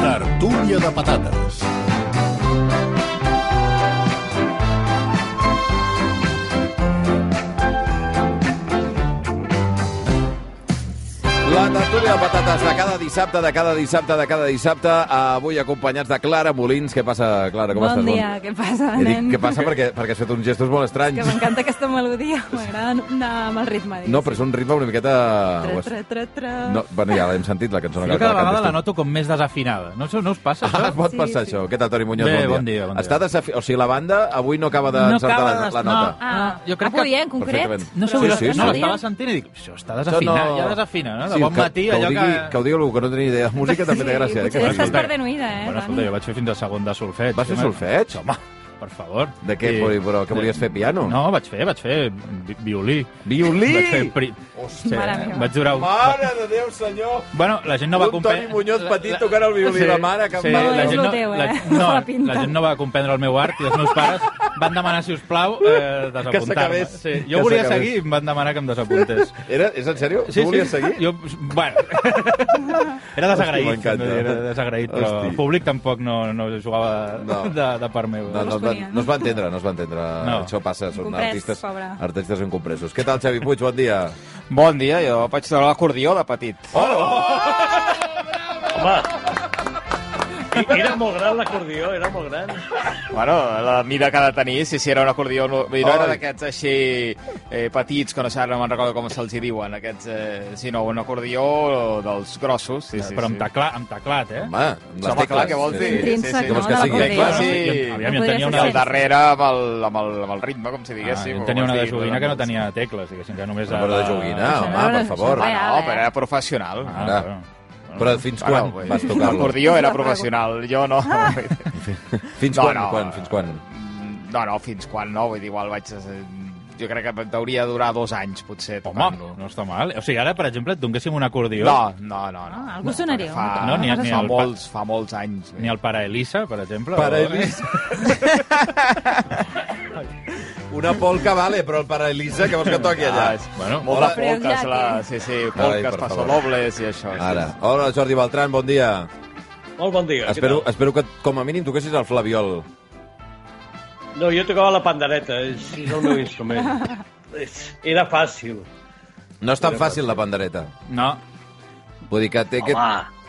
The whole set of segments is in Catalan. Tertúlia de patates. La tertúlia de patates de cada dissabte, de cada dissabte, de cada dissabte, Eh, avui acompanyats de Clara Molins. Què passa, Clara? Com bon estàs? dia, què passa, He dit nen? què passa perquè, perquè has fet uns gestos molt estranys. Que m'encanta aquesta melodia, m'agrada anar amb el ritme. Digues. No, però és un ritme una miqueta... Tra, tra, tra, tra. No, bueno, ja l'hem sentit, la cançó. no Jo cal que cada vegada cantis la tu. noto com més desafinada. No, sé, no us passa, Ah, això? pot Sí, passar sí. això. Què tal, Toni Muñoz? Bé, bon bon dia. dia, bon dia. Està desafi... O sigui, la banda avui no acaba No d'encertar acaba la, de- la nota. Ah, Jo crec que- avui, eh, en concret? Perfectament. No, sé, Sí, sí, sí, sí. no, Sí. l'estava sentint i dic, això està desafinat, Això ja desafina, no? De bon que, matí, que ho allò digui, que... que... ho digui algú que no tenia idea de música també té gràcia. Eh? potser que estàs faci. perdent oïda, eh, Bueno, escolta, Dani? jo vaig fer fins al segon de solfeig. Vas fer home. solfeig? Home, per favor. De què, I- però, que volies fer piano? No, vaig fer, vaig fer vi- violí. Violí! Vaig fer... Pri... Mare meva. Vaig durar... Un... Mare de Déu, senyor! Bueno, la gent no va Un Toni comprendre... Muñoz petit tocant el violí, la mare que em va- No, és lo teu, eh? La, No no, la pinta. la gent no va comprendre el meu art i els meus pares van demanar, si us plau, eh, desapuntar-me. s'acabés. Sí, Que jo volia s'acabés. seguir i em van demanar que em desapuntés. Era, és en sèrio? tu volies seguir? Jo, bueno, era Hòstia, desagraït, m'encanta. no, era desagraït, però Hosti. el públic tampoc no, no jugava No. de, de part meva. No, no, no, responia, no? no es va entendre, no es va entendre. No. No. Això passa, són Incomprès, artistes, pobre. artistes incompresos. Què tal, Xavi Puig? Bon dia. Bon dia, jo vaig tocar l'acordió de petit. Oh, oh, Era molt gran l'acordió, era molt gran. bueno, la mida que ha de tenir, si sí, sí, era un acordió... No, no Ai. era d'aquests així eh, petits, que no sé, ara no me'n recordo com se'ls hi diuen, aquests... Eh, sí, no, un acordió dels grossos, sí, sí. Però amb, sí. tecla, amb teclat, eh? Home, amb les Home, clar, tecles. què vols dir? Intrínsec, Sí, sí, no? vols que de sigui l'acordió. tecla? Sí. Jo, aviam, No jo tenia podria una... ser Al darrere, amb el, amb, el, amb el ritme, com si Ah, diguéssim. jo o tenia com una de es digui, joguina que no tenia tecles, diguéssim, que només... Una cosa de joguina, Ah, home, per sí. favor. Ah, Ah, no, però era professional. Ah, Ara. bueno. Però fins quan Bueno, vas tocar-lo? Ah. L'acordió era professional, jo no. Fins No, quan, no. Mm, quan, fins quan? No, no, fins quan no, vull dir, igual vaig... eh, Jo crec que hauria de durar dos anys, potser, Home, tocant-lo. no està mal. O sigui, ara, per exemple, et donéssim un acordió, No, no, no. no. Ah, algú sonaria, Fa, home, no, ni- fa, ni el pa- molts, fa molts anys. ni el pare Elisa, per exemple. Para o- Elisa. Una polca, vale, però el para Elisa, que vols que toqui allà? Ah, és- Bueno, Moltes Hola. polques, la... sí, sí, Ai, per polques, favor. Ah. passodobles i això. sí, Ara. Hola, Jordi Beltran, bon dia. Molt bon dia. què Espero, tal? espero que com a mínim toquessis el flaviol. No, jo tocava la pandereta, és, és el meu instrument. És- Era fàcil. No és tan fàcil, la pandereta. No, Vull dir que té aquest...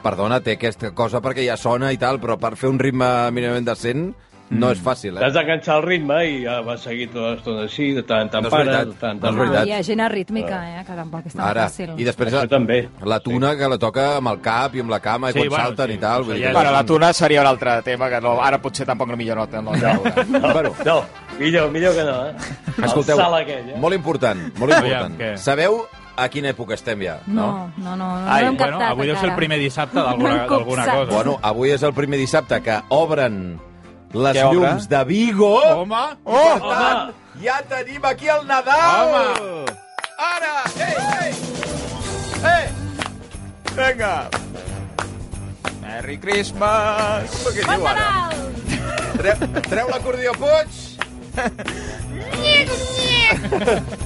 Perdona, té aquesta cosa perquè ja sona i tal, però per fer un ritme mínimament decent no és fàcil, eh? T'has d'enganxar el ritme i ja vas seguir tota l'estona així, de tant en tant No és pares, veritat, de tant en no és tant... veritat. Ah, hi ha gent arrítmica, eh, que tampoc és tan Ara, fàcil. i després Això també. la tuna que la toca amb el cap i amb la cama i Sí, quan bueno, salten sí, i tal. això Vull dir ja que... Bueno, la tuna seria un altre tema, que no, ara potser tampoc no millor nota. No, no. Bueno, No, millor, millor que no, eh? escolteu, El salt aquell, eh? molt important, molt important. Aviam, què? Sabeu a quina època estem ja, no? No, no, no, no, no Ai, l'hem bueno, captat avui deu ser encara. el primer dissabte No d'alguna hem d'alguna copsat. cosa. Bueno, avui és el primer dissabte que obren les Què obre? llums de Vigo. Home! Per Home! tant, ja tenim aquí el Nadal! Oh! Home! Ara! Ei, ei! Vinga! Merry Christmas! Què diu ara? Treu, treu l'acordió, Puig!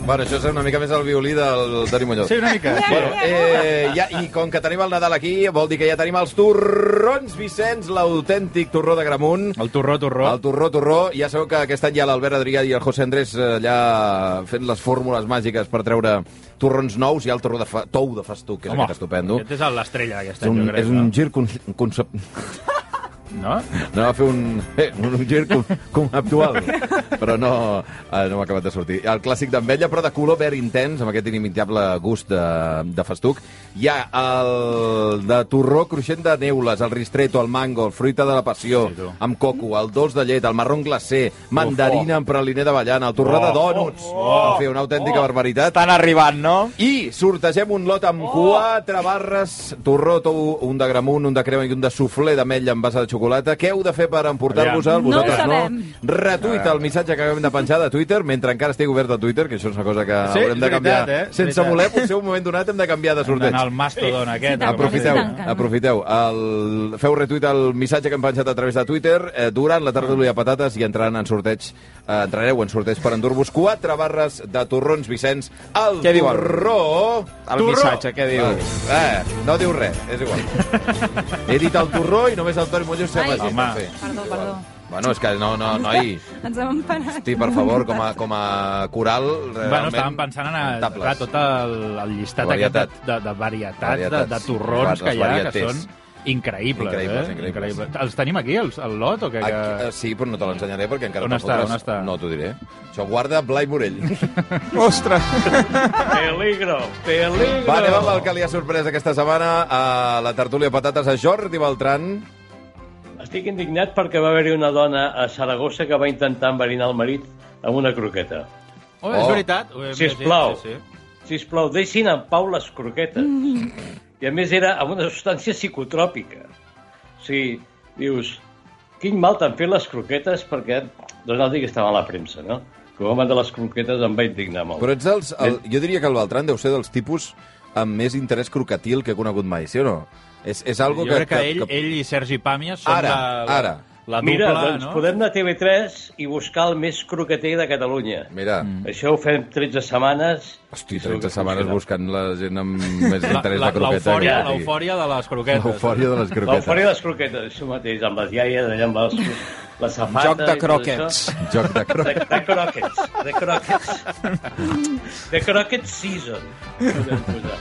bueno, això és una mica més el violí del Toni Muñoz. Sí, una mica. Bueno, eh, ja, I com que tenim el Nadal aquí, vol dir que ja tenim els torrons, Vicenç, l'autèntic torró de Gramunt. El torró, torró. El torró, torró. Ja sabeu que aquest any hi ha l'Albert Adrià i el José Andrés eh, allà fent les fórmules màgiques per treure torrons nous. Hi ha el torró de fa... tou de festuc, que és Home, aquest estupendo. Aquest és el- l'estrella d'aquest És any, un, jo crec. és un gir con, concep... No? No va fer un, eh, un, un gir com, com actual, però no, eh, no m'ha acabat de sortir. El clàssic d'Ambella, però de color verd intens, amb aquest inimitable gust de, de festuc. Hi ha el de torró cruixent de neules, el ristretto, el mango, el fruita de la passió, Sí, tu. amb coco, el dolç de llet, el marron glacé, Oh, mandarina amb praliner d'avellana, el torró de dònuts. En fi, una Oh, autèntica barbaritat. Estan arribant, no? I sortegem un lot amb oh! quatre barres, torró, tou, un de gramunt, un de crema i un de soufflé d'ametlla amb base de xocolata. Què heu de fer per emportar-vos el? Aviam. No ho Vosaltres sabem. Retuita el missatge que acabem de penjar de Twitter mentre encara estigui obert a Twitter, que això és una cosa que Sí, haurem de és veritat, canviar. eh? És Sense veritat. voler, potser un moment donat hem de canviar de sorteig. D'anar al mastodon aquest. Sí, Aprofiteu, Quan tanquen. aprofiteu. El, feu retuit el missatge que hem penjat a través de Twitter eh, durant la tarda d'Ulia Patates i entraran en sorteig, eh, entrareu en sorteig per endur-vos quatre barres de torrons Vicenç al Què diu el- torró... el missatge, què diu? Eh, no diu res, és igual. He dit el torró i només el Toni Mollós s'ha Ai, vagit. home. Perdó, perdó. Bueno, és que no, no, noi... Ens hem empanat. Hosti, per favor, com a, com a coral... Bueno, realment estàvem pensant en lamentables. agafar tota tot el, el llistat Varietat. varietat. de, de varietats, Varietats. de, de torrons que Les hi ha, que varietés. són increïbles. Increïbles, eh? increïbles. Els tenim aquí, els, el lot? O que, que... Aquí, eh, sí, però no te l'ensenyaré perquè encara On te'n està, fotràs. on està? No t'ho diré. Això guarda Blai Morell. Ostres! Peligro, peligro. Va, anem amb el que li ha sorprès aquesta setmana a la tertúlia de patates a Jordi Beltran. Estic indignat perquè va haver-hi una dona a Saragossa que va intentar enverinar el marit amb una croqueta. Oh, és Oh. veritat. ho hem Sisplau. llegit, Sí, Sisplau, deixin en pau les croquetes. I a més era amb una substància psicotròpica. O sigui, dius, quin mal t'han fet les croquetes perquè doncs, Donald Dick estava a la premsa, no? Que el home de les croquetes em va indignar molt. Però ets dels... El, jo diria que el Beltran deu ser dels tipus amb més interès crocatil que he conegut mai, sí o no? És, és algo jo que, crec que, ell, ell i Sergi Pàmies són Ara, la, la, ara. la dupla, Mira, doncs no? podem anar a TV3 i buscar el més croqueter de Catalunya. Mira, mm. Això ho fem 13 setmanes. hosti, Segur que 30 setmanes funciona. buscant la gent amb més interès La- de la- croqueta. L'eufòria que digui. l'eufòria de les croquetes. L'eufòria de les croquetes. L'eufòria de les croquetes, això mateix, amb les iaies, allà amb les, la safata... Joc de i tot croquets. això. Joc de De, croquetes. de croquets, de croquets. De croquets season, podem posar.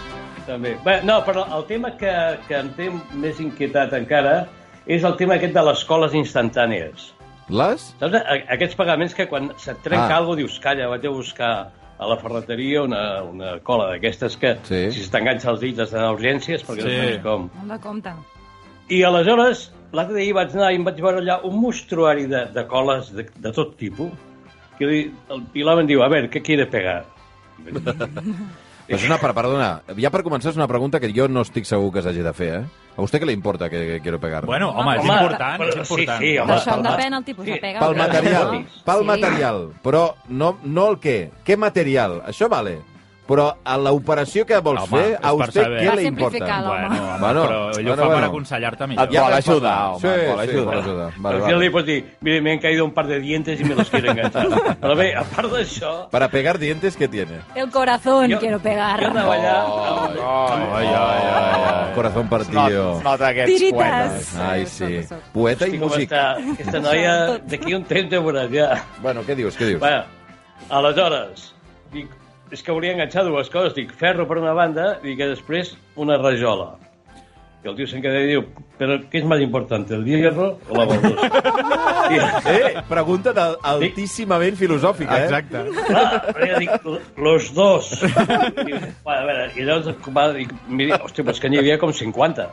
També. Bé, no, però el tema que, que em té més inquietat encara és el tema aquest de les coles instantànies. Les? Saps? A- Aquests pagaments que quan se't trenca Ah. ah. alguna dius, calla, vaig a buscar a la ferreteria una, una cola d'aquestes que Sí. si se t'enganxa els dits has d'anar a urgències perquè Sí. no saps com. Molt de compte. I aleshores, l'altre dia hi vaig anar i em vaig veure allà un monstruari de, de coles de, de tot tipus. Que li, el Pilar em diu, a veure, què quiere pegar? Però és una, per- perdona, ja per començar és una pregunta que jo no estic segur que s'hagi de fer, eh? A vostè què li importa que, que quiero pegar? Bueno, oh. home, és Home, important, però- és important. sí, sí, home. Això pel mat- depèn del tipus de sí, pega. Pel però- material, Sí. pel material, però no, no el què. Què material? Això vale. Però a l'operació que vols Home, fer, és a per vostè saber. què Va li simplificar, importa? l'home. Bueno, home, Bueno, però ell ho bueno, fa bueno. per aconsellar-te Et millor. vol vaig ajudar, parlar. home, Sí, et vol sí, ajudar. vol ajudar. Vale, Vale, Al vale. final li pots dir, mire, me han caído un par de dientes y me los quiero enganchar. Però bé, a part d'això, Para pegar dientes, ¿qué tiene? El corazón Jo- quiero jo pegar. anava allà... Ai, amb- ai, ai. Corazón No, partido. no aquests Tirites. poetes. Ai, sí. Sí, sóc, sóc. Poeta i Hosti, com músic. està? Aquesta noia d'aquí un temps de veuràs ja. Bueno, què dius, què dius? Bé, aleshores, dic, és que volia enganxar dues coses. Dic, ferro per una banda i que després una rajola. I el tio se'n queda i diu, però què és més important, el hierro o la baldosa? I, Eh, pregunta al- altíssimament filosòfica, eh? Exacte. clar, però jo dic, los dos. I, bueno, a veure, i llavors va dir, mira, hòstia, però és que n'hi havia com 50.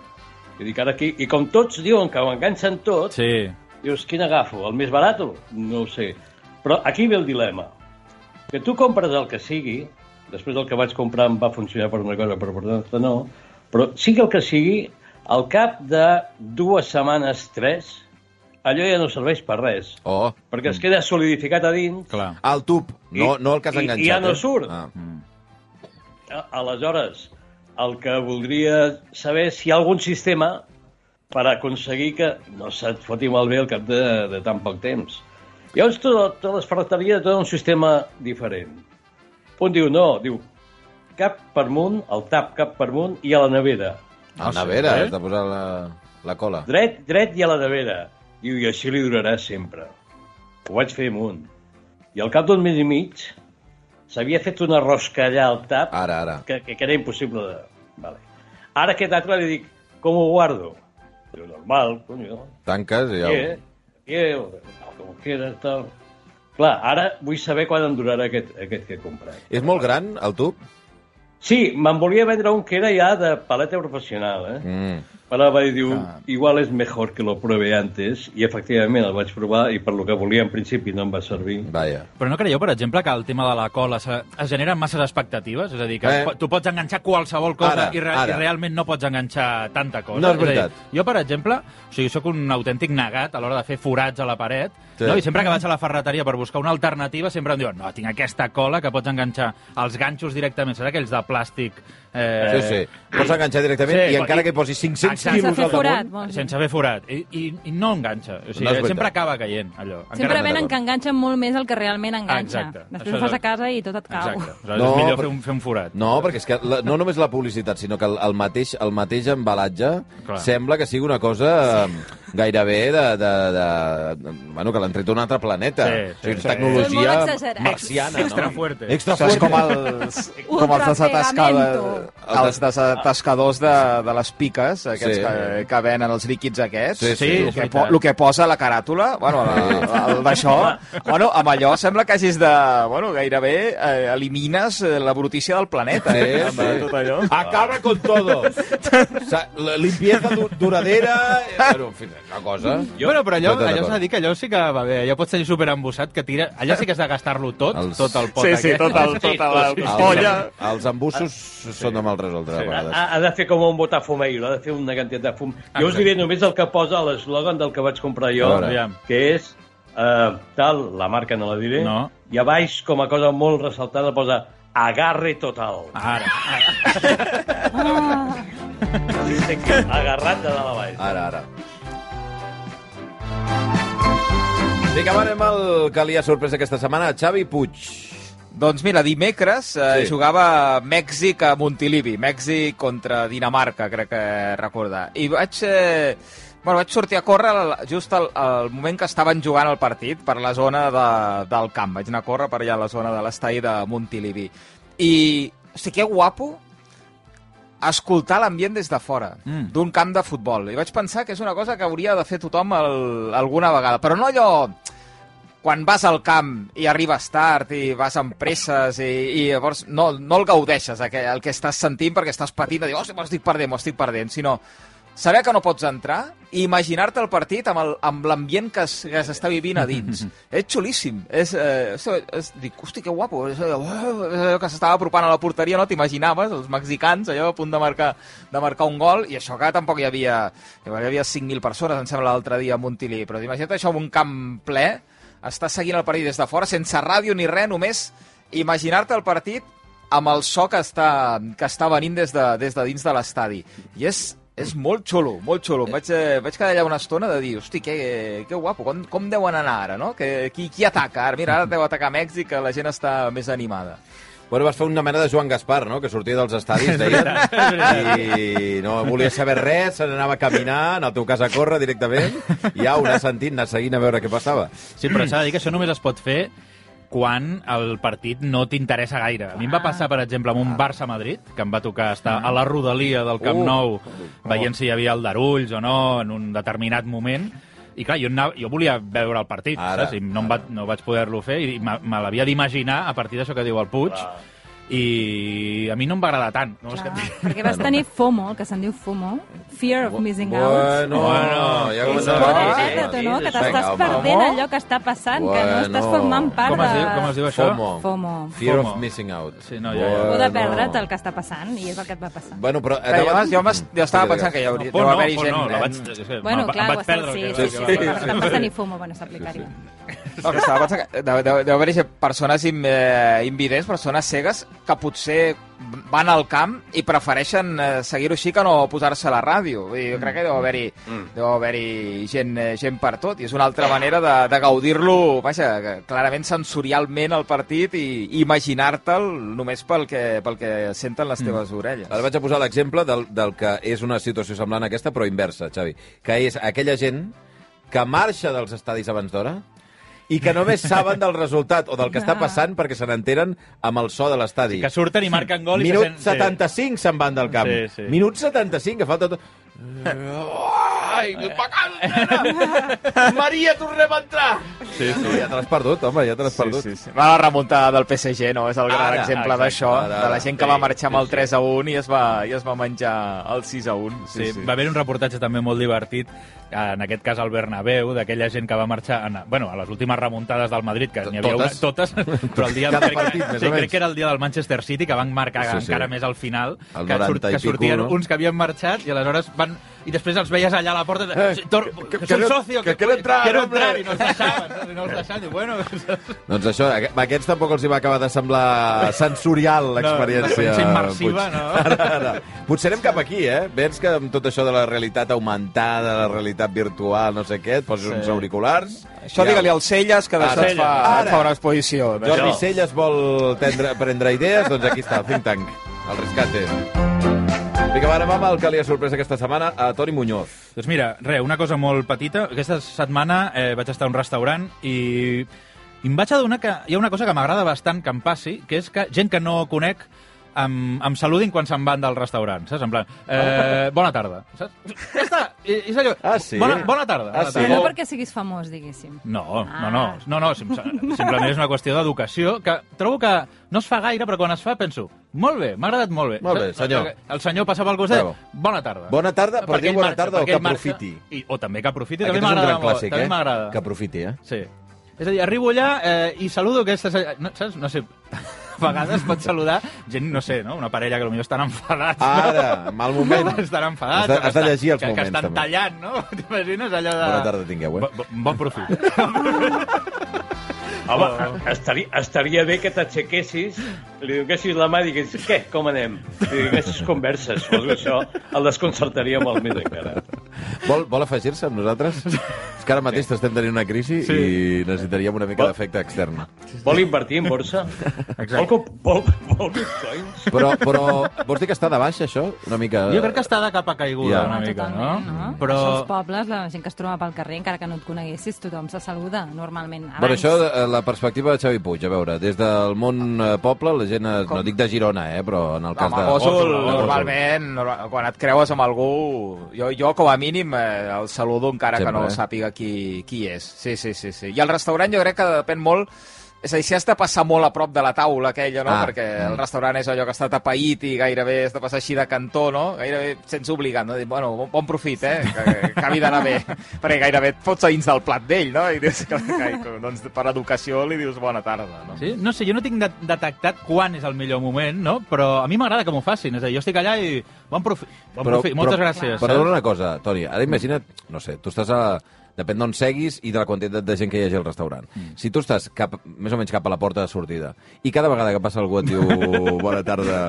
I dic, ara aquí, i com tots diuen que ho enganxen tot, Sí. Dius, quin agafo? El més barat? No ho sé. Però aquí ve el dilema. Que tu compres el que sigui, després el que vaig comprar em va funcionar per una cosa, però per l'altra no, però sigui el que sigui, al cap de dues setmanes, tres, allò ja no serveix per res. Oh, Perquè es queda solidificat a dins. Clar. el tub, no, no el que has I- i enganxat. ja no eh? surt. Ah. A- Aleshores, el que voldria saber és si hi ha algun sistema per aconseguir que no se't foti malbé al cap de, de tan poc temps. Llavors, tot, totes les ferreteries tenen un sistema diferent. Un diu, no, diu, cap per munt, el tap cap per munt i a la nevera. A la nevera, eh? has de posar la, la cola. Dret, dret i a la nevera. Diu, i així li durarà sempre. Ho vaig fer amunt. I al cap d'un mes i mig s'havia fet una rosca allà al tap Ara, ara. que, que, que era impossible de... Vale. Ara aquest altre li dic, com ho guardo? Diu, normal, conyo. Tanques i ja... Què? Què? Com quieras, tal. Clar, ara vull saber quan em durarà aquest, aquest que he comprat. És molt gran, el tub? Sí, me'n volia vendre un que era ja de paleta professional, eh? Mm. parava i diu, igual és mejor que lo pruebe antes, i efectivament el vaig provar i per lo que volia en principi no em va servir. Vaja. Però no creieu, per exemple, que el tema de la cola se- es generen masses expectatives? És a dir, que Eh. eh. tu pots enganxar qualsevol cosa Ara, i, re ara. i realment no pots enganxar tanta cosa. No és a dir, veritat. jo, per exemple, o sigui, sóc un autèntic negat a l'hora de fer forats a la paret, Sí. sí. no? i sempre que vaig a la ferreteria per buscar una alternativa sempre em diuen no, tinc aquesta cola que pots enganxar els ganxos directament, saps aquells de plàstic... Eh, Sí, sí. Pots enganxar directament Sí, i pot- encara que hi posis 500 Exacte. quilos Sense al fer forat, damunt... vols dir. Sense haver forat. I, i, i no enganxa. O sigui, No és veritat. sempre acaba caient, allò. Sempre no Ah, venen t'acaba. que enganxen molt més el que realment enganxa. Exacte. Després Això ho fas és- a casa i tot et cau. Exacte. Aleshores, No, és millor però- fer un, fer un forat. No, perquè és que la, no només la publicitat, sinó que el, el, mateix, el mateix embalatge Clar. Clar. sembla que sigui una cosa sí. gairebé de, de, de, Bueno, que l'han tret d'un altre planeta. o Sí, sigui, sí, és sí. Són tecnologia molt exagerats. marciana, Extra no? fuerte. Extra Això és fuerte. com els, com els desatascadors, Ultrapegamento. els desatascadors de, de les piques, aquests Sí. sí. que, que venen els líquids aquests. Sí, sí, el, és que veritat. po, el que posa la caràtula, bueno, la- la- el d'això, bueno, amb allò sembla que hagis de... Bueno, gairebé eh, elimines eh, la brutícia del planeta, Sí, eh, amb sí. tot allò. Acaba con todo. O sea, la limpieza du- duradera... eh, Bueno, en fi, una cosa... Jo, bueno, però allò, Totalment allò d'acord. s'ha de dir que allò sí que va bé. Allò pot ser superembossat, que tira... Allò sí que has de gastar-lo tot, Els- els... tot el pot Sí, sí, aquest. tot el- tot sí, el- sí. Els, Polla. els embussos són de mal resoldre, a Ha, vegades. ha- ha de fer com un botafumeiro, ha de fer una quantitat de fum. Jo us diré només el que posa a l'eslògan del que vaig comprar jo, A veure. Aviam. que és eh, tal, la marca no la diré, No. i a baix, com a cosa molt ressaltada, posa agarre total. Ah. Ara, ara. Agarrat de dalt a baix. Ara, ara. Vinga, va, anem al que li ha sorprès aquesta setmana, Xavi Puig. Doncs mira, dimecres eh, Sí. sí. jugava Mèxic a Montilivi, Mèxic contra Dinamarca, crec que recordar. I vaig... Eh, bueno, vaig sortir a córrer al- just al, al moment que estaven jugant el partit per la zona de, del camp. Vaig anar a córrer per allà a la zona de l'estadi de Montilivi. I, hosti, que guapo escoltar l'ambient des de fora, mm. d'un camp de futbol. I vaig pensar que és una cosa que hauria de fer tothom el, alguna vegada. Però no allò quan vas al camp i arribes tard i vas amb presses i, i llavors no, no el gaudeixes el que, el que estàs sentint perquè estàs patint de dir, "Oh, hòstia, m'estic perdent, m'estic perdent, sinó saber que no pots entrar i imaginar-te el partit amb el- amb l'ambient que es- que s'està vivint a dins. és xulíssim. És, eh, és, és, dic, hosti, que guapo. És, eh, uau, és allò que s'estava apropant a la porteria, no t'imaginaves, els mexicans, allò a punt de marcar, de marcar un gol, i això que tampoc hi havia, hi havia 5.000 persones, em sembla, l'altre dia a Montilivi. Però imagina't això amb un camp ple, estàs seguint el partit des de fora, sense ràdio ni res, només imaginar-te el partit amb el so que està, que està venint des de, des de dins de l'estadi. I és, és molt xulo, molt xulo. Em Vaig, eh, vaig quedar allà una estona de dir, hosti, que, que guapo, com, com deuen anar ara, no? Que, qui, qui ataca ara? Mira, ara deu atacar Mèxic, que la gent està més animada. Bueno, vas fer una mena de Joan Gaspar, no?, que sortia dels estadis, deien, i no volia saber res, se n'anava a caminar, en el teu cas a córrer directament, i au, anar sentint, anar seguint a veure què passava. Sí, però s'ha de dir que això només es pot fer quan el partit no t'interessa gaire. A mi em Ah. va passar, per exemple, amb un Barça-Madrid, que em va tocar estar a la rodalia del Camp Uh. Nou, veient si hi havia el Darulls o no, en un determinat moment, i clar, jo, anava, jo volia veure el partit, Ara, saps? I no, em va, no vaig poder-lo fer, i me, me l'havia d'imaginar a partir d'això que diu el Puig, i a mi no em va agradar tant. No, és Clar, que... perquè vas tenir FOMO, el que se'n diu FOMO, Fear of Missing Out. Bueno, Bueno, ja És començava. por el sí, sí, perdre-t'ho, no? Que t'estàs Vinga, home. perdent allò que està passant, que no estàs Bueno. formant part Com es de... diu- com es diu això? FOMO. FOMO. Fear of FOMO. missing out. Sí, no, ja, ja. O de perdre't el que està passant, i és el que et va passar. Bueno, però... eh, Però jo, jo, m'es- jo estava Digues, pensant que hi hauria, Por deu haver-hi por gent... la eh, vaig, és que Bueno, em va- clar, em vaig sí, perdre. sí, el que- sí, el que sí, va sí, passar. per tant vas tenir FOMO, bueno, s'aplicaria. No, que estava pensant que deu, deu, deu haver gent, persones in, eh, invidents, persones cegues, que potser van al camp i prefereixen eh, seguir-ho així que no posar-se a la ràdio. Vull dir, jo crec que deu haver-hi deu haver gent, eh, gent per tot, i és una altra manera de, de gaudir-lo, vaja, que clarament sensorialment el partit i imaginar-te'l només pel que, pel que senten les teves orelles. Ara vaig a posar l'exemple del, del que és una situació semblant a aquesta, però inversa, Xavi. Que és aquella gent que marxa dels estadis abans d'hora i que només saben del resultat o del que està Ah. passant perquè se n'enteren amb el so de l'estadi. Que surten i marquen gol i Minut se sent... 75 sí. se'n van del camp. Sí, sí. Minut 75, que falta tot... Ai, vacances! Maria, tornem a entrar! Sí, sí, ja te l'has perdut, home, ja te l'has Sí, perdut. sí, sí. Va la remuntada del PSG, no? És el gran Ara, exemple exacte, d'això, ara, de la gent que sí, va marxar amb el sí, sí. 3 a 1 i es va, i es va menjar el 6 a 1. Sí, sí. Va haver un reportatge també molt divertit, en aquest cas al Bernabéu, d'aquella gent que va marxar en, bueno, a les últimes remuntades del Madrid, que n'hi havia Totes. una, totes, però el dia Cada crec, que- partit, més sí, o menys. crec que era el dia del Manchester City, que van marcar Sí, sí, sí. sí. encara més al final, El que, 90 i que pico, sortien no? uns que havien marxat i aleshores van... I després els veies allà a la porta... De, Eh, eh, tor, que- que, que que, soy quiero- socio, que quiero entrar, quiero hombre. entrar, i no els deixaven, no? I no els deixaven, i bueno... Doncs això, a aquests tampoc els hi va acabar de semblar sensorial l'experiència. l'experiència immersiva, Puig. no? Ara, ara. Potser anem cap aquí, eh? Vens que amb tot això de la realitat augmentada, la realitat virtual, no sé què, et poses sí. uns auriculars... Això i digue-li al Celles, que d'això et, fa, Ara. et fa una exposició. d'això. Jordi Celles vol tendre, prendre idees, doncs aquí està, el think tank, el rescate. Vinga, va, ara vam al que li ha sorprès aquesta setmana a Toni Muñoz. Doncs mira, res, una cosa molt petita. Aquesta setmana eh, vaig estar a un restaurant i, i em vaig adonar que hi ha una cosa que m'agrada bastant que em passi, que és que gent que no conec em, em saludin quan se'n van del restaurant, saps? En plan, eh, bona tarda, saps? Ja està, i, és allò, Ah, sí? bona, bona tarda. Ah, bona sí? Però tarda. no Oh. perquè siguis famós, diguéssim. No, no, Ah. no, no, no, sim simplement és una qüestió d'educació, que trobo que no es fa gaire, però quan es fa penso, molt bé, m'ha agradat molt bé. Molt bé, senyor. El senyor passa pel costat, Bravo. bona tarda. Bona tarda, però Perquè diu ell bona marxa, tarda o perquè que ell marxa. aprofiti. I, o també que aprofiti, Aquest també és un m'agrada gran molt, clàssic, també eh? m'agrada. Que aprofiti, eh? Sí. És a dir, arribo allà eh, i saludo aquestes... No, saps? No sé, a vegades pot saludar gent, no sé, no? una parella que potser estan enfadats. Ara, mal moment. Estan Has enfadats. de- has de que llegir els que, moments, Que estan també. tallant, no? T'imagines allò de... Bona tarda tingueu, eh? Bo- bo- bon profit. Home, Oh, estaria, estaria bé que t'aixequessis, li donessis la mà i diguessis, què, com anem? Li donessis converses, perquè això el desconcertaria molt més encara. Vol, vol afegir-se amb nosaltres? És que ara mateix estem tenint una crisi sí. i necessitaríem una mica Vol- d'efecte extern. Vol invertir en borsa? Vol, comp- vol, vol bitcoins? Però, però vols dir que està de baixa, això? Una mica... Jo crec que està de capa caiguda, Eh, Ja. una Ah, mica, no? totalment, no? Però... Però... Això als pobles, la gent que es troba pel carrer, encara que no et coneguessis, tothom se saluda normalment. Abans. Bueno, això, eh, la perspectiva de Xavi Puig, a veure, des del món eh, poble, la gent, es- no dic de Girona, eh, però en el cas Home, de... Òsol, Òsol, normalment, normal- quan et creues amb algú, jo, jo com a mínim eh, el saludo encara Sempre, que no eh? sàpiga qui, qui és. Sí, sí, sí, sí. I al restaurant jo crec que depèn molt és a dir, si has de passar molt a prop de la taula aquella, no? Ah, Ah, Perquè mm. el restaurant és allò que està tapaït i gairebé has de passar així de cantó, no? Gairebé sents obligat, no? Dir, bueno, bon, bon profit, eh? Que, que acabi d'anar bé. Perquè gairebé et fots a dins del plat d'ell, no? I dius, que, que, doncs, per educació li dius bona tarda, no? Sí? No sé, jo no tinc de detectat quan és el millor moment, no? Però a mi m'agrada que m'ho facin. És a dir, jo estic allà i... Bon profit, bon profit moltes gràcies. Però eh? dona una cosa, Toni, ara imagina't, no sé, tu estàs a... Depèn d'on seguis i de la quantitat de gent que hi hagi al restaurant. Mm. Si tu estàs cap, més o menys cap a la porta de sortida i cada vegada que passa algú et diu bona tarda,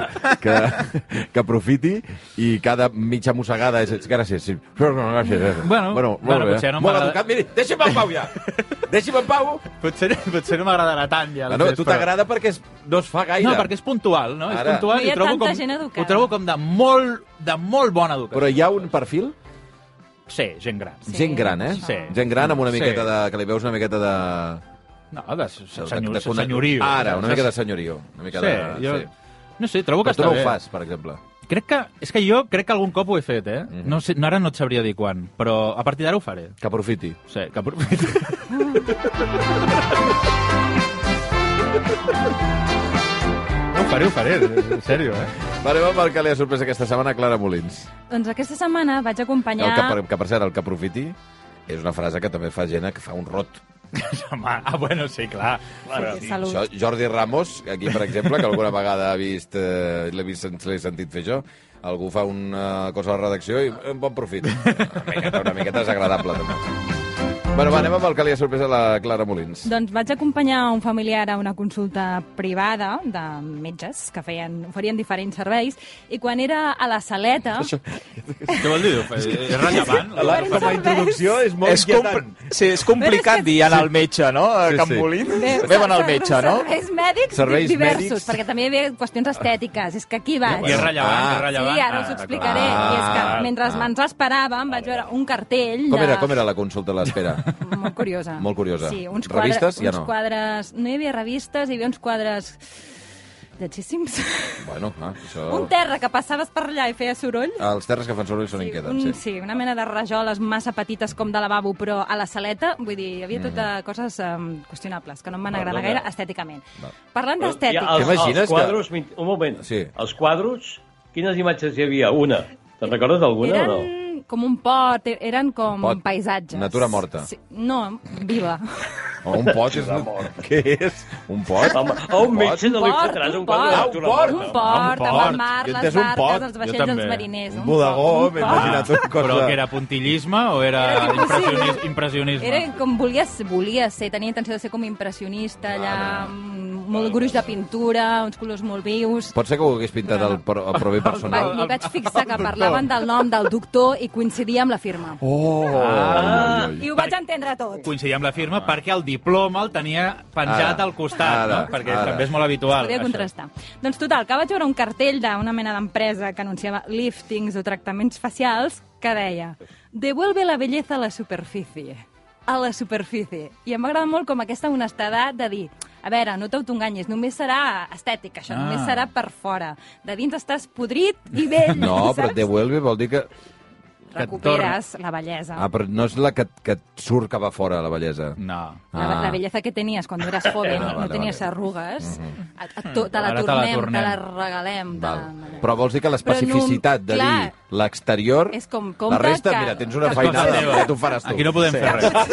que, que aprofiti i cada mitja mossegada és gràcies. Sí. No, no, gràcies. gràcies. Bueno, molt bueno, bé. potser no molt m'agrada- educat. Miri, deixa'm en pau ja. deixa'm en pau. Potser, potser no m'agradarà tant ja. Bueno, a tu però- t'agrada perquè és, no es fa gaire. No, perquè és puntual, no? Ara. És puntual No i hi ha trobo tanta com, gent educada. Ho trobo com de molt, de molt bona educació. Però hi ha un perfil? Sí, gent gran. Sí, gent gran, eh? Sí. Gent gran amb una Sí. miqueta de... que li veus una miqueta de... No, de, de, de- senyor, de, de- de- senyorio. Ara, una Saps? mica de senyorio. Una mica Sí, de... jo... sí. No sé, trobo que Però tu està no bé. ho fas, per exemple. Crec que, és que jo crec que algun cop ho he fet, eh? No sé, no, ara no et sabria dir quan, però a partir d'ara ho faré. Que aprofiti. Sí, que aprofito. No ho faré, ho faré, en sèrio, eh? Vale, va pel que li ha sorprès aquesta setmana a Clara Molins. Doncs aquesta setmana vaig El que, acompanyar... per, que, per cert, el que aprofiti és una frase que també fa gent que fa un rot. Home, ah, bueno, sí, clar. Clar, Sí, Salut. Això, Jordi Ramos, aquí, per exemple, que alguna vegada ha vist, eh, l'he vist, l'he sentit fer això, algú fa una cosa a la redacció i eh, un bon profit. Una miqueta, una miqueta desagradable, també. Bueno, va, anem amb el que li ha sorprès a la Clara Molins. Doncs vaig acompanyar un familiar a una consulta privada de metges que feien, oferien diferents serveis i quan era a la saleta... Això, Què vol dir? eh, És rellevant? la- com a introducció és és, compl sí, és Però complicat és que- dir anar al metge, no? Sí, Sí, sí. Can Molins. Bé, van al metge, no? Serveis mèdics Serveis serveis diversos, mèdics. mèdics. perquè també hi havia qüestions estètiques. És que aquí vaig. I és rellevant, Ah. és rellevant. Sí, ara us ho Ah, explicaré. Ah, I és que mentre ah. ens esperàvem vaig veure un cartell Com de... era, com era la consulta a l'espera? Molt curiosa. Molt curiosa. Sí, uns Revistes, quadres, ja uns no. quadres... No hi havia revistes, hi havia uns quadres lletgíssims. Bueno, ah, això... Un terra que passaves per allà i feia soroll. Els terres que fan soroll són inquietants, un, sí. sí, una mena de rajoles massa petites com de lavabo, però a la saleta, vull dir, hi havia tota coses um, qüestionables, que no em van agradar gaire Perdona. estèticament. Parlant Eh, Hi d'estètica... ha els, T'imagines els que- quadros... Que... Un moment. Sí. Els quadros, quines imatges hi havia? Una. Te'n recordes d'alguna eren o no? com un pot, e- eren com pot. paisatges. Natura morta. Sí, no, viva. O un pot és... Què és? Un pot? Home, a un pot? metge no li fotràs un quadre de Ah, un natura port. un morta. port, Un amb el port. mar, Jo he les entès un pot. barques, els Jo vaixells, els també. mariners. Un pot, bodegó, un m'he pot. imaginat una cosa... Però que era puntillisme o era, impressionis, impressionisme? Era com volia, volia ser, tenia intenció de ser com impressionista, allà, amb molt gruix de pintura, uns colors molt vius. Pot ser que ho hagués pintat el, pro, el prover Va, personal. m'hi vaig fixar que parlaven del nom del doctor i coincidia amb la firma. Oh! Ah, Ah, I ho vaig entendre tot. coincidir amb la firma perquè el diploma el tenia penjat Ara, al costat, ara, no? perquè ara. també és molt habitual. Podia això. contrastar. Doncs total, que vaig veure un cartell d'una mena d'empresa que anunciava liftings o tractaments facials que deia «Devuelve la belleza a la superfície». A la superfície. I em va agradar molt com aquesta honestedat de dir a veure, no t'autoenganyis, només serà estètic, això, Ah. només serà per fora. De dins estàs podrit i vell, No, però saps? devuelve vol dir que... Recuperes la bellesa. Ah, però no és la que, que et surt cap a fora, la bellesa. No. La, Ah. la belleza que tenías cuando eras joven, Ah, no, vale, Mm-hmm. tenies vale. arrugues, et- et to- te, la Ara te la tornem, te tornem. la regalem. Te Val. la... Però vols dir que l'especificitat de Però no- clar. dir l'exterior... És com- La compte resta, que- mira, tens una que- feinada, Cosa teva. ja t'ho faràs tu. Aquí no podem fer res. és,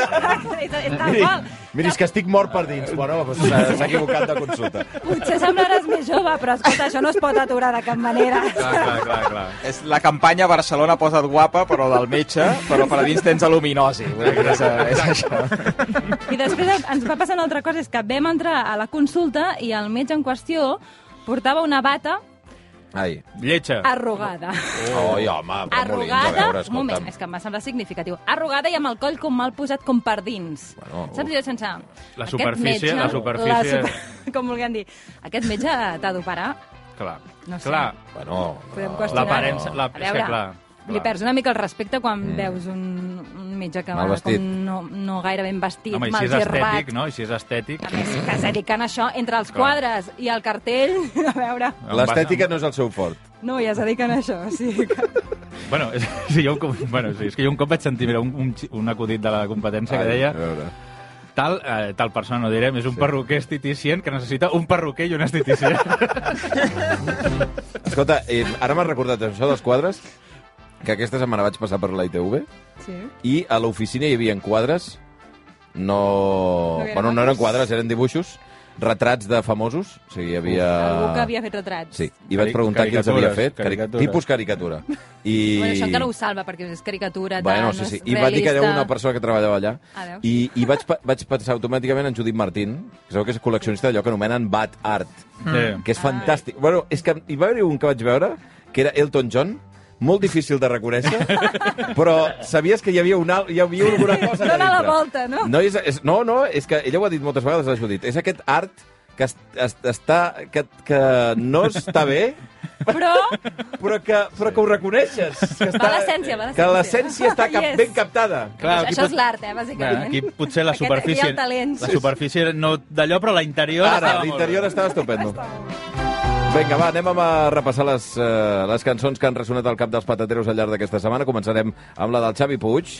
és tal Miri, qual. miri, és que estic mort per dins. Bueno, doncs s'ha s'ha equivocat de consulta. Potser semblaràs més jove, però escolta, això no es pot aturar de cap manera. Clar, clar, clar. És la campanya Barcelona posa't guapa, però del metge, però per a dins tens aluminosi. Vull dir que És, eh, és això. I després ens va passar una altra cosa, és que vam entrar a la consulta i el metge en qüestió portava una bata Ai. Lletja. Ah. arrugada. Oh, i home, però molins, a arrugada, veure, un escolta'm. moment, és que em va semblar significatiu, arrugada i amb el coll com mal posat com per dins. Bueno, Saps, uf. jo sense... La aquest superfície, la superfície. La super... Com vulguem dir. Aquest metge t'ha d'operar. Clar. No sé. Clar. Bueno, Podem no, qüestionar. L'aparença, la- A és que veure, clar, Li clar. perds una mica el respecte quan mm. veus un, un metge que Mal va vestit. com no, no gaire ben vestit, Home, i si mal és estètic, gerbat. no? I si és estètic... A més, que es dediquen a això entre els Clar. quadres i el cartell, a veure... L'estètica no és el seu fort. No, ja es dediquen a això, sí. Que... Bueno, és, sí, jo, un cop- bueno, sí, és que jo un cop vaig sentir mira, un, un, xi- un acudit de la competència que Ai, eh. deia a veure. tal, eh, tal persona, no direm, és un sí. perruquer esteticient que necessita un perruquer i un esteticient. Escolta, eh, ara m'has recordat això dels quadres, que aquesta setmana vaig passar per la ITV sí. i a l'oficina hi havia quadres, no... No eren bueno, no eren fotos. quadres, eren dibuixos, retrats de famosos, o sigui, hi havia... Algú que havia fet retrats. Ah. Sí, i vaig preguntar qui els havia Caricatures, fet, cari... caricatures. tipus caricatura. I... Bueno, això encara ho salva, perquè és caricatura, tal, Bueno, no sí, sí. és I va dir que realista. era una persona que treballava allà. Ah, veus? I, i vaig, pe- vaig pensar automàticament en Judit Martín, que sabeu que és col·leccionista d'allò que anomenen Bad Art, Mm. que és fantàstic. Bueno, és que hi va haver un que vaig veure, que era Elton John, molt difícil de reconèixer, però sabies que hi havia, una, hi havia alguna cosa allà Dóna la dintre. volta, no? No, és, és, no, no, és que ella ho ha dit moltes vegades, la Judit. És aquest art que, es, es, està, que, que no està bé, Però però que, però que ho reconeixes. Que està, Va l'essència, va Que l'essència. l'essència està cap, Hi és. ben captada. Clar, això, aquí això pot- és l'art, eh, Clar, bàsicament. aquí potser la Aquest- superfície... Aquí el talent. La superfície no d'allò, però la interior... Ara, estava molt bé. l'interior estava estupendo. Vinga, va, anem a repassar les, eh, les cançons que han ressonat al cap dels patateros al llarg d'aquesta setmana. Començarem amb la del Xavi Puig.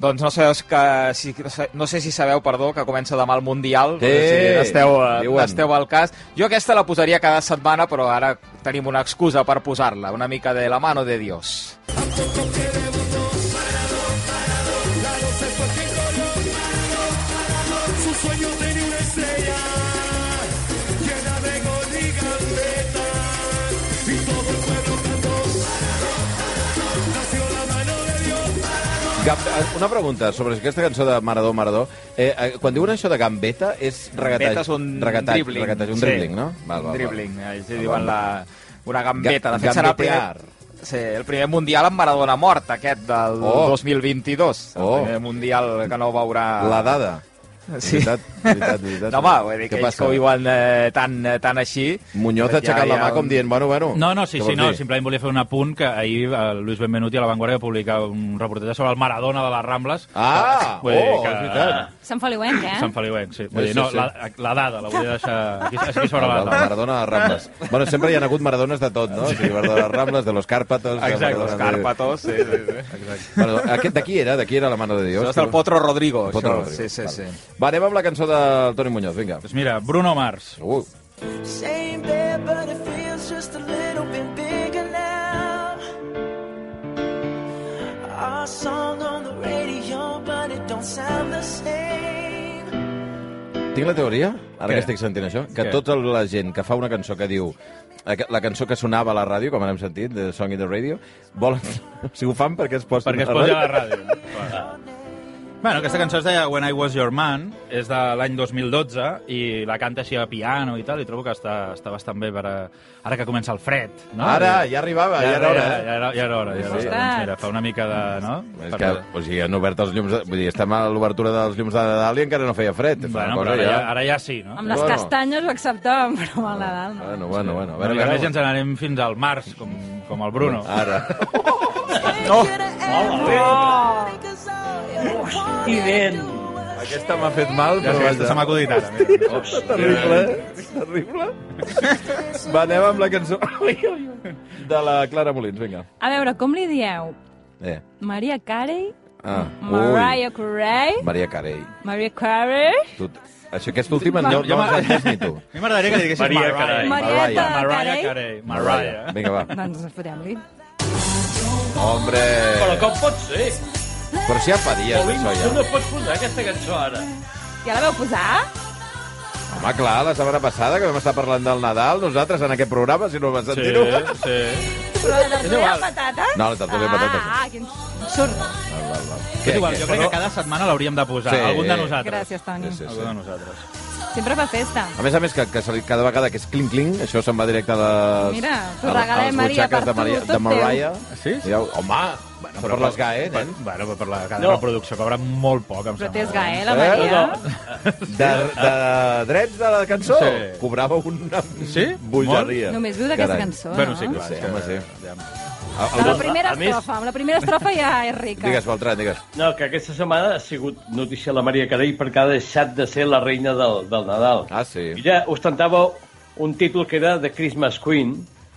Doncs no, sabeu que, si, no sé si sabeu, perdó, que comença demà el Mundial. Sí, no sé si n'esteu eh, diuen. n'esteu al cas. Jo aquesta la posaria cada setmana, però ara tenim una excusa per posar-la. Una mica de la mano de Dios. Gam- eh, Una pregunta sobre aquesta cançó de Maradó, Maradó. Eh, eh, quan diuen això de gambeta, és regatatge. Gambeta és un regatatge, dribbling. Regatatge, un Sí. dribbling, no? Val, Un val, dribbling, eh, ells Val, li diuen la, una gambeta. De Ga- fet, serà el gambetear. primer, sí, el primer mundial amb Maradona mort, aquest del Oh. 2022. El Oh. primer mundial que no veurà... Val. La dada. Sí. Veritat, veritat, veritat. No, home, vull dir Què que ells passa? que ho diuen eh, tan, eh, tan així... Muñoz ha aixecat la mà com dient, bueno, bueno... No, no, sí, què sí, vols no, dir? simplement volia fer un apunt que ahir el Luis Benvenuti a La Vanguardia va publicar un reportatge sobre el Maradona de les Rambles. Ah, Vull dir oh, és veritat. Sant Feliuenc, eh? Sant Feliuenc, sí. Vull dir, no, sí, sí. la, la dada la volia deixar aquí, aquí sobre la La taula. Maradona de Rambles. Bueno, sempre hi ha hagut Maradones de tot, no? O sigui, Maradona de Rambles, de los Cárpatos... de Exacte, Maradona els de- Carpatos, sí, sí, sí. Bueno, aquest d'aquí era, d'aquí era la mano de Dios. Això és el Potro Rodrigo, El això. Potro Rodrigo, Sí, sí, val. sí. Va, anem amb la cançó del Toni Muñoz, vinga. Doncs mira, Bruno Mars. Uh, Same there, but it feels just a little bit bigger now. Our song on the radio, but it don't sound the same. tinc la teoria, ara Què? que estic sentint això, que Què? tota la gent que fa una cançó que diu eh, que- la cançó que sonava a la ràdio, com ara hem sentit, de Song in the Radio, volen... si ho fan perquè es posin Perquè es a la posi a ràdio. la ràdio. Clar. Bueno, aquesta cançó es deia When I Was Your Man, és de l'any 2012, i la canta així a piano i tal, i trobo que està, està bastant bé per a... ara que comença el fred. No? Ara, ja arribava, ja, era hora. eh? Ja era, ja era hora, ja era hora. Sí. Doncs mira, fa una mica de... No? És que, o sigui, han obert els llums... De... Vull dir, estem a l'obertura dels llums de Nadal i encara no feia fred. És Bueno, una però cosa ara ja, ja- ara ja sí, no? Amb les Bueno. castanyes ho acceptàvem, però a Nadal no. Bueno, bueno, bueno. A Bueno, veure, Ah, I a a més veure. ens n'anem fins al març, com, com el Bruno. Ara. Ident. Aquesta m'ha fet mal, Ja però sé, vaja. se m'ha acudit ara. Mira. Oh. Terrible, eh? Terrible. Va, anem amb la cançó de la Clara Molins, vinga. A veure, com li dieu? Eh. Maria Carey? Ah, Mariah Carey? Ui. Maria Carey. Maria Carey? Tu... Això, aquesta última Va, no, jo no m'ha- l'has entès ni tu. A mi m'agradaria que diguessis Maria Mariah. Carey. Marieta Mariah. Mariah Carey? Carey. Mariah. Vinga, va. Doncs fotem-li. Hombre. Però com pot ser? Però si ja fa dies, Paulín, això, tu no ja. pots posar aquesta cançó ara. Ja la veu posar? Home, clar, la setmana passada que vam estar parlant del Nadal, nosaltres en aquest programa, si no el vas Sí, sentir-ho... sí. Però la tertúlia de patates? No, la tertúlia de patates. Ah, quin surt. Val, val, val. És igual, jo crec que Però- cada setmana l'hauríem de posar, Sí. algun de nosaltres. Gràcies, Toni. Sí, sí, Algun de nosaltres. Sempre fa festa. A més a més, que, que se li- cada vegada que és clink-clink, això se'n va directe a les, Mira, t'ho a, regalem, a les Maria, butxaques per de, Maria, tu, tot de Mariah. Sí? Ja, home, bueno, però per les gaes, eh? Bueno, però per la cadena No. de producció cobra molt poc, em Però sembla. té esgae, la Eh? Maria. De, de drets de la cançó eh? Sí. cobrava una Sí? bogeria. Només viu d'aquesta Carai. cançó, eh? Bueno, no? sí, clar. Sí, és que- home, sí. aviam. Amb la primera A més- estrofa, amb la primera estrofa ja és rica. Digues, Beltran, digues. No, que aquesta setmana ha sigut notícia la Maria Carey perquè ha deixat de ser la reina del, del Nadal. Ah, sí. Ella ostentava un títol que era de Christmas Queen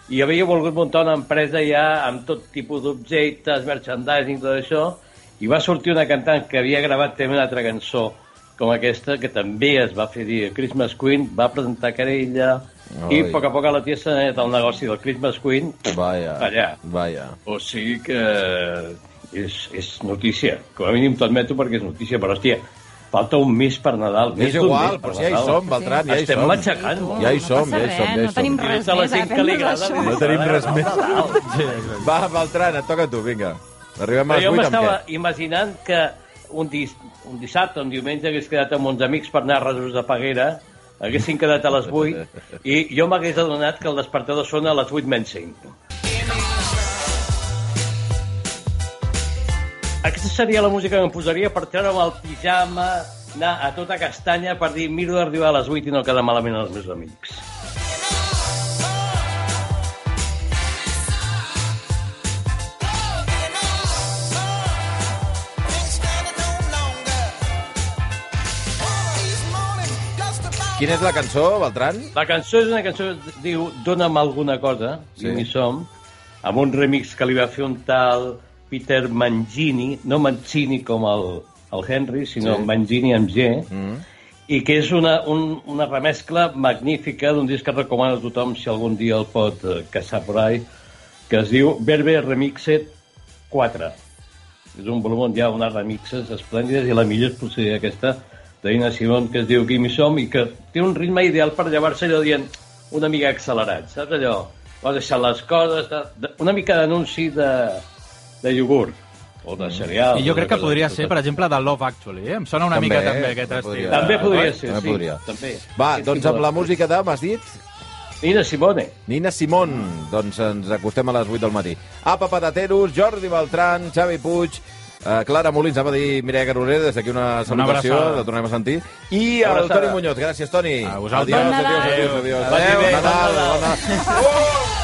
i havia volgut muntar una empresa ja amb tot tipus d'objectes, merchandising, tot això, i va sortir una cantant que havia gravat també una altra cançó com aquesta, que també es va fer dir Christmas Queen, va presentar querella, i Ai. a poc a poc la tia s'ha anat al negoci del Christmas Queen. Vaja, Allà. vaja. O sigui que és, és notícia. Com a mínim t'admeto perquè és notícia, però hòstia, falta un mes per Nadal. més És d'un igual, mes per però si ja hi Nadal. som, Beltran, ja hi Estem som. matxacant. tu, Ja hi som, passa ja hi som, res, ja hi No tenim som. res Dins de la més, gent que li agafem-nos agrada. això. No tenim res més. Nadal. Va, Beltran, et toca a tu, vinga. Arribem a Però les jo 8 amb m'estava què? imaginant que un, dis, un dissabte, un diumenge, hagués quedat amb uns amics per anar a Resos de Peguera, haguessin quedat a les 8 i jo m'hagués adonat que el despertador sona a les 8 menys 5. Aquesta seria la música que em posaria per treure'm el pijama, anar a tota castanya per dir miro d'arribar a les 8 i no quedar malament als meus amics. Quina és la cançó, Beltran? La cançó és una cançó que diu Dóna'm alguna cosa, Sí. sí. i hi som, amb un remix que li va fer un tal Peter Mangini, no Mancini com el, el Henry, sinó Sí. sí. Mangini amb G, mm. i que és una, un, una remescla magnífica d'un disc que recomano a tothom si algun dia el pot eh, caçar por ahí, que es diu Verbe Remixed 4. És un volum on hi ha unes remixes esplèndides i la millor és potser aquesta d'Ina Simón, que es diu Gimme Som i que té un ritme ideal per llevar-se allò dient una mica accelerat, saps allò? Vas deixar les coses, de- de- una mica d'anunci de, de iogurt o de cereal. Mm. I jo crec que podria ser, per exemple, de Love Actually. Eh? Em sona una També, mica eh? també aquest estil. Podria. També podria eh? Ah, ser, també sí. podria. També. Va, Aquest doncs tipus amb la de- música de, m'has dit? Nina Simone. Nina Simón, Ah, doncs ens acostem a les 8 del matí. Apa, patateros, Jordi Beltran, Xavi Puig, Uh, Clara Molins, em va dir Mireia Garoner, des d'aquí una salutació, abraçada. la tornem a sentir. I el Abraçada. Toni Muñoz, gràcies, Toni. A vosaltres. Adiós, Bon adiós, Nadal. adiós, adiós. Adéu, Bon bon Nadal, bon Nadal. Oh, oh,